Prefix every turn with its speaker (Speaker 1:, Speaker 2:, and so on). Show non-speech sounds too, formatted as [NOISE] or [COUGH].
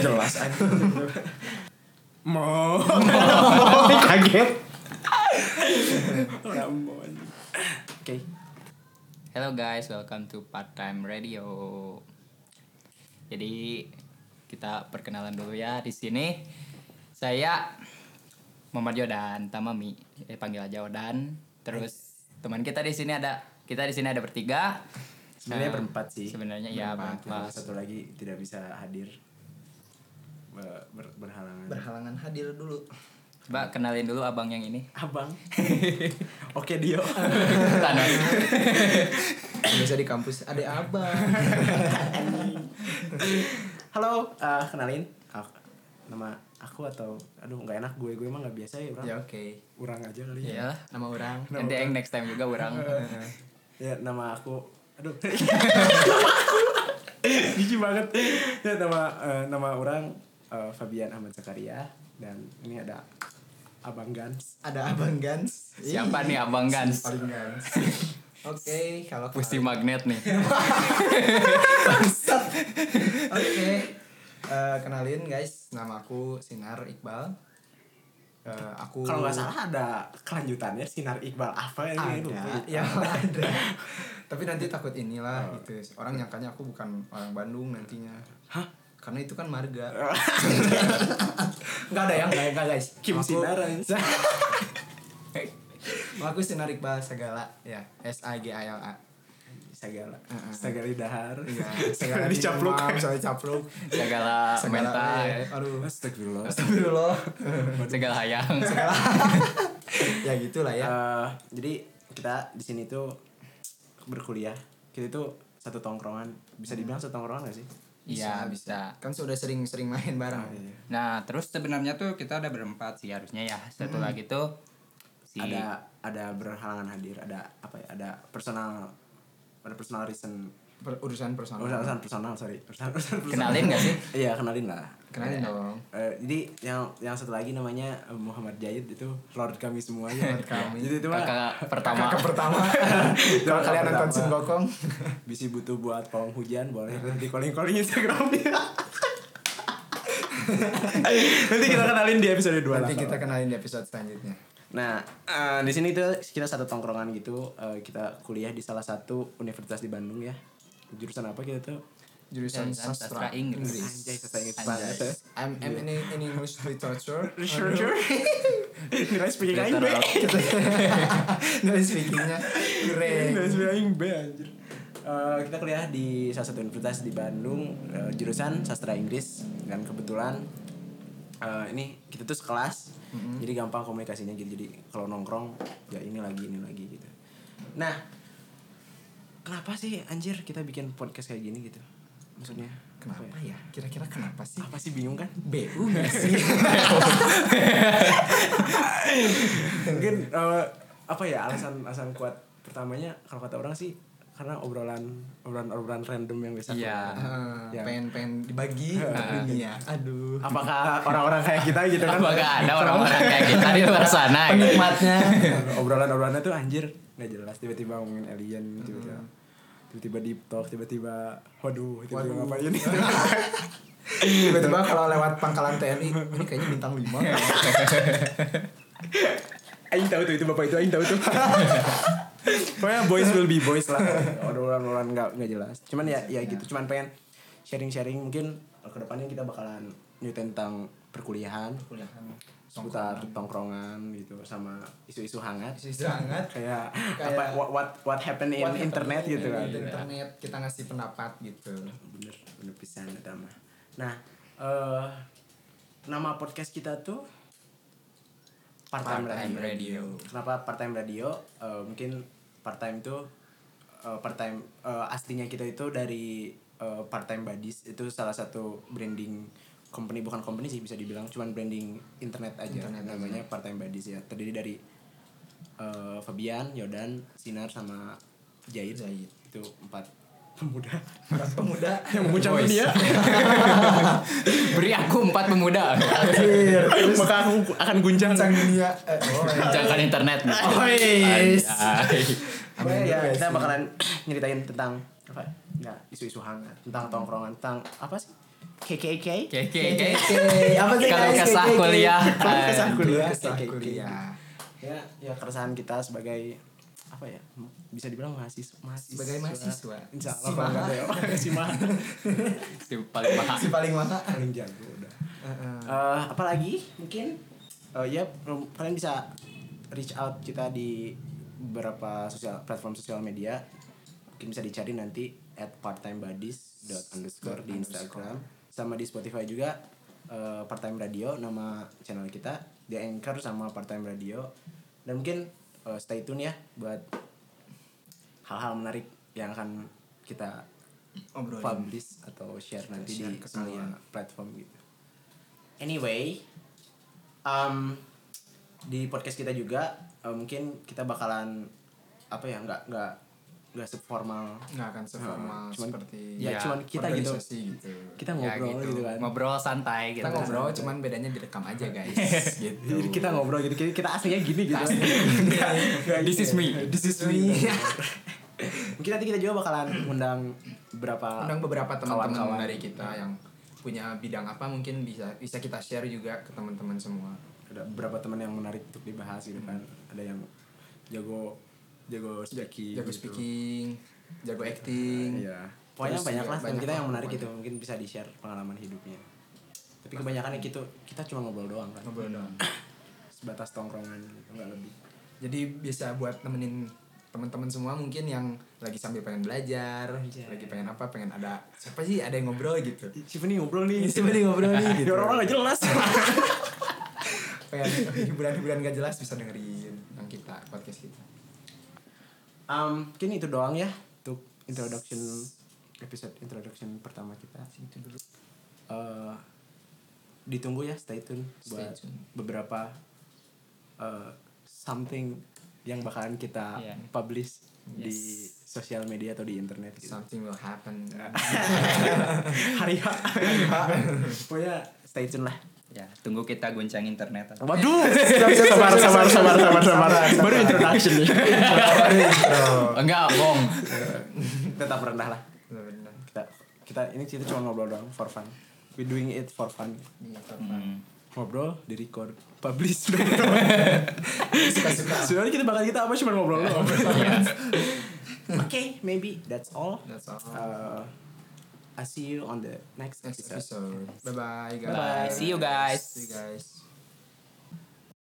Speaker 1: jelas
Speaker 2: Mau.
Speaker 3: Kaget.
Speaker 1: Oke.
Speaker 2: Hello guys, welcome to Part Time Radio. Jadi kita perkenalan dulu ya di sini. Saya Muhammad Yodan Tamami, eh, panggil aja Odan. Terus teman kita di sini ada kita di sini ada bertiga.
Speaker 1: Sebenarnya
Speaker 2: Eh,
Speaker 1: berempat sih.
Speaker 2: Sebenarnya ya berempat.
Speaker 1: Satu lagi tidak bisa hadir. Ber- ber- berhalangan.
Speaker 3: Berhalangan hadir dulu.
Speaker 2: Coba kenalin dulu abang yang ini.
Speaker 1: Abang. Oke, Dio.
Speaker 2: Tanas.
Speaker 3: Biasa di kampus ada abang.
Speaker 1: Halo, eh, kenalin. Ak- nama aku atau aduh nggak enak gue gue emang nggak biasa ya orang
Speaker 3: ya oke.
Speaker 1: orang aja kali ya.
Speaker 2: Iya.
Speaker 3: Nama orang.
Speaker 2: Nanti yang next time juga orang.
Speaker 1: Ya, nama aku aduh. [LAUGHS] Jijik banget. Ya, nama eh, nama orang eh, Fabian Ahmad Zakaria dan ini ada Abang Gans.
Speaker 3: Ada abang Gans.
Speaker 2: Siapa nih Abang Gans?
Speaker 3: Paling Gans.
Speaker 1: [LAUGHS]
Speaker 3: Oke, kalau
Speaker 2: Pusti magnet nih.
Speaker 3: Bangsat. [LAUGHS] Oke. Eh, kenalin guys, nama aku Sinar Iqbal. Eh, aku
Speaker 1: Kalau nggak salah ada kelanjutannya sinar Iqbal apa ini
Speaker 3: ada,
Speaker 1: lupa.
Speaker 3: ya
Speaker 1: Ya.
Speaker 3: ada.
Speaker 1: [LAUGHS]
Speaker 3: Tapi nanti takut inilah
Speaker 1: Oh.
Speaker 3: gitu. Orang nyangkanya aku bukan orang Bandung nantinya. Hah? Karena itu kan
Speaker 1: [LAUGHS]
Speaker 3: marga. Enggak ada yang enggak enggak guys.
Speaker 1: Kim
Speaker 3: Aku-
Speaker 1: Sinar.
Speaker 3: Aku Sinar Iqbal Segala ya. S A G A L A.
Speaker 1: Segala.
Speaker 3: Heeh.
Speaker 1: Segala dahar.
Speaker 3: [LAUGHS] Iya,
Speaker 1: Segala
Speaker 3: di
Speaker 1: dicaplok.
Speaker 3: [LAUGHS] demam, Segala dicapluk.
Speaker 2: Segala
Speaker 3: Segala
Speaker 2: mental,
Speaker 3: ya, aduh.
Speaker 1: Astagfirullah.
Speaker 3: Astagfirullah.
Speaker 2: segala hayang.
Speaker 3: ya gitulah [LAUGHS] ya.
Speaker 1: Eh, jadi kita di sini tuh berkuliah. Kita tuh satu tongkrongan. Bisa dibilang satu tongkrongan gak sih?
Speaker 2: Iya, bisa.
Speaker 3: Kan sudah sering-sering main bareng.
Speaker 1: Iya.
Speaker 2: Nah, terus sebenarnya tuh kita ada berempat sih harusnya ya. Satu lagi tuh si
Speaker 1: Ada ada berhalangan hadir, ada apa ya? Ada personal ada personal reason
Speaker 3: Per- urusan personal.
Speaker 1: urusan urusan personal sorry urusan urusan personal.
Speaker 2: kenalin gak sih?
Speaker 1: [LAUGHS] iya kenalin lah
Speaker 3: Kenalin dong.
Speaker 1: Eh, jadi yang yang satu lagi namanya eh, Muhammad Jahid itu lord kami semuanya lord
Speaker 3: kami.
Speaker 1: jadi itu mah
Speaker 2: Kakak pertama.
Speaker 3: [LAUGHS] Kakak pertama. Kalau
Speaker 1: Kakak
Speaker 3: kalian nonton
Speaker 1: pertama.
Speaker 3: Shin Gokong,
Speaker 1: [LAUGHS] Bisi butuh buat pawang hujan boleh nanti calling calling Instagramnya. nanti kita kenalin di episode 2
Speaker 3: nanti kita kenalin di episode selanjutnya.
Speaker 1: Nah, eh, di sini tuh kita satu tongkrongan gitu, eh, kita kuliah di salah satu universitas di Bandung ya. Jurusan apa kita tuh?
Speaker 3: Jurusan
Speaker 2: Jurusan
Speaker 3: sastra
Speaker 2: sastra
Speaker 3: Inggris.
Speaker 2: Inggris.
Speaker 3: Iya.
Speaker 1: Anjay, saya ingat
Speaker 2: Anjay.
Speaker 1: banget ya.
Speaker 3: I'm, I'm in, in English [LAUGHS] literature.
Speaker 1: Researcher. [LAUGHS] Nilai speaking aing be.
Speaker 2: Literal.
Speaker 3: Dari speakingnya keren.
Speaker 1: Nilai speaking aing be anjir. Eh, kita kuliah di salah satu universitas di Bandung, eh, jurusan sastra Inggris dan kebetulan eh, ini kita tuh sekelas. Jadi gampang komunikasinya gitu. Jadi kalau nongkrong ya ini lagi ini lagi gitu. Nah, kenapa sih anjir kita bikin podcast kayak gini gitu? Maksudnya apa
Speaker 3: Kenapa ya? Kira-kira kenapa sih?
Speaker 1: Apa sih bingung kan?
Speaker 3: BU [LAUGHS] gak sih?
Speaker 1: mungkin eh, apa ya alasan alasan kuat pertamanya kalau kata orang sih karena obrolan obrolan obrolan random yang biasa
Speaker 2: Iya.
Speaker 3: Eh,
Speaker 1: Ya.
Speaker 3: Pengen-pengen dibagi ke dunia. Aduh.
Speaker 1: apakah Nah, orang-orang kayak kita gitu kan
Speaker 2: Apakah ada
Speaker 1: [LAUGHS]
Speaker 2: orang-orang kayak kita di luar sana? gitu?
Speaker 3: Penikmatnya.
Speaker 1: obrolan obrolannya tuh anjir nggak jelas tiba-tiba ngomongin alien tiba-tiba tiba-tiba deep talk tiba-tiba waduh tiba-tiba
Speaker 3: Waduh.
Speaker 1: ngapain
Speaker 3: [LAUGHS]
Speaker 1: [LAUGHS]
Speaker 3: Tiba-tiba kalau lewat pangkalan TNI, ini kayaknya bintang
Speaker 1: Iya.
Speaker 3: 5.
Speaker 1: Aing tahu tuh itu bapak itu Aing tahu tuh [LAUGHS] Pokoknya boys will be boys lah Obrolan-obrolan gak, nggak jelas Cuman ya ya gitu Cuman pengen sharing-sharing mungkin Kedepannya kita bakalan nyetain tentang perkuliahan
Speaker 3: Kuliahan.
Speaker 1: Seputar tongkrongan gitu Sama isu-isu hangat
Speaker 3: Isu-isu hangat.
Speaker 1: Kayak,
Speaker 3: Kayak-
Speaker 1: apa, what, what, what happened in
Speaker 3: What
Speaker 1: internet
Speaker 3: happened
Speaker 1: gitu kan
Speaker 3: in Iya, internet kita ngasih pendapat gitu
Speaker 1: Bener, bener pisan eta mah. Nah, eh nama podcast kita tuh Part Time
Speaker 2: Part-time Radio.
Speaker 1: Kenapa Part Time Radio? Eh, mungkin part time itu eh, part time eh, aslinya kita itu dari eh, part time buddies itu salah satu branding company bukan company sih bisa dibilang cuman branding internet aja namanya part time buddies ya terdiri dari eh, Fabian, Yodan, Sinar sama Jair.
Speaker 3: Jair.
Speaker 1: Itu empat [LAUGHS] pemuda
Speaker 3: Para pemuda
Speaker 1: [LAUGHS] yang mengucap
Speaker 2: Boys.
Speaker 1: dia
Speaker 2: [LAUGHS] Beri aku empat pemuda.
Speaker 1: maka aku akan guncang
Speaker 3: sang dunia eh, oh, ya.
Speaker 2: Jangan internet. gitu.
Speaker 3: Oh, yes.
Speaker 2: Anjay.
Speaker 1: Pokoknya ya kita bakalan nyeritain tentang apa Nah, isu-isu hangat tentang tongkrongan tentang apa sih? KKK?
Speaker 2: KKK.
Speaker 1: Apa sih?
Speaker 2: Kalau
Speaker 1: guys?
Speaker 2: kesah
Speaker 1: KKK?
Speaker 2: kuliah.
Speaker 1: Kalau eh, kesah kuliah.
Speaker 3: Setelah
Speaker 1: KKK.
Speaker 3: kuliah
Speaker 1: Ya, ya keresahan kita sebagai apa ya? Bisa dibilang mahasiswa. mahasiswa.
Speaker 3: sebagai mahasiswa
Speaker 1: Insya Allah
Speaker 3: si
Speaker 1: kalau nggak
Speaker 3: maha
Speaker 1: ada yang- si mahal.
Speaker 2: Si paling mahal.
Speaker 3: si paling maha
Speaker 1: Paling jago udah.
Speaker 3: Heeh.
Speaker 1: Eh, apalagi mungkin eh, ya rum- kalian bisa reach out kita di beberapa sosial platform sosial media mungkin bisa dicari nanti at partimebuddies underscore di Instagram sama di Spotify juga eh, part time radio nama channel kita di anchor sama part time radio dan mungkin eh, stay tune ya buat hal-hal menarik yang akan kita
Speaker 3: obrolin
Speaker 1: publish atau share
Speaker 3: Kita
Speaker 1: nanti
Speaker 3: share
Speaker 1: di
Speaker 3: ke
Speaker 1: semua
Speaker 3: kalian.
Speaker 1: platform gitu. Anyway, um, di podcast kita juga eh, mungkin kita bakalan apa ya nggak nggak nggak seformal
Speaker 3: nggak akan seformal
Speaker 1: Cuman-
Speaker 3: seperti
Speaker 1: ya,
Speaker 2: Ya,
Speaker 1: cuman kita gitu
Speaker 3: organisasi gitu.
Speaker 1: kita
Speaker 2: Ya,
Speaker 1: ngobrol gitu, kan
Speaker 2: Ngobrol santai gitu.
Speaker 3: kita ngobrol cuman bedanya direkam aja guys gitu
Speaker 1: [LAUGHS] Jadi kita ngobrol gitu kita kita aslinya gini gitu
Speaker 2: This is me.
Speaker 1: this is me [LAUGHS] mungkin nanti kita juga bakalan undang berapa
Speaker 3: undang beberapa teman-teman
Speaker 1: Kawan-kawan.
Speaker 3: dari kita yang punya bidang apa mungkin bisa bisa kita share juga ke teman-teman semua
Speaker 1: ada beberapa teman yang menarik untuk dibahas gitu kan ada yang jago jago speaking
Speaker 3: jago
Speaker 1: gitu.
Speaker 3: speaking jago acting
Speaker 1: iya pokoknya
Speaker 3: Terus
Speaker 1: banyak
Speaker 3: juga
Speaker 1: lah teman
Speaker 3: banyak
Speaker 1: kita
Speaker 3: lah
Speaker 1: yang menarik
Speaker 3: pokoknya.
Speaker 1: itu mungkin bisa di share pengalaman hidupnya tapi kebanyakan ya gitu kita cuma ngobrol doang kan
Speaker 3: ngobrol doang
Speaker 1: sebatas tongkrongan gitu nggak lebih
Speaker 3: jadi bisa buat nemenin teman-teman semua mungkin yang lagi sambil pengen belajar lagi pengen apa pengen ada siapa sih ada yang ngobrol gitu
Speaker 1: siapa nih ngobrol nih
Speaker 3: Siapa nih ngobrol
Speaker 1: [LAUGHS]
Speaker 3: nih,
Speaker 1: Ya,
Speaker 3: gitu.
Speaker 1: orang-orang nggak jelas
Speaker 3: pengen hiburan-hiburan gak jelas bisa dengerin yang kita podcast kita
Speaker 1: um, mungkin itu doang ya untuk introduction episode introduction pertama kita
Speaker 3: itu dulu
Speaker 1: Eh, ditunggu ya stay tune
Speaker 3: Stay
Speaker 1: buat
Speaker 3: tune.
Speaker 1: beberapa eh, something yang bakalan kita
Speaker 2: Iya.
Speaker 1: publish di
Speaker 2: Yes.
Speaker 1: sosial media atau di internet gitu.
Speaker 3: something will happen
Speaker 1: [LAUGHS] hari H pokoknya stay tune lah
Speaker 4: Ya, tunggu kita guncang internet.
Speaker 1: waduh [LAUGHS] sabar sabar sabar sabar sabar baru introduction nih Iya.
Speaker 2: Enggak, bohong.
Speaker 1: tetap rendah lah
Speaker 3: benar
Speaker 1: kita kita ini kita cuma ngobrol doang for fun we doing it for fun
Speaker 3: Iya,
Speaker 4: Hmm.
Speaker 1: ngobrol di record publish [LAUGHS]
Speaker 3: suka-suka
Speaker 1: Sebenarnya kita bakal kita apa cuma ngobrol doang. Oke, maybe that's all.
Speaker 3: that's all
Speaker 1: Uh, I see you on the next
Speaker 3: next
Speaker 1: episode.
Speaker 3: episode bye bye guys
Speaker 2: Bye. See you guys.
Speaker 3: see you guys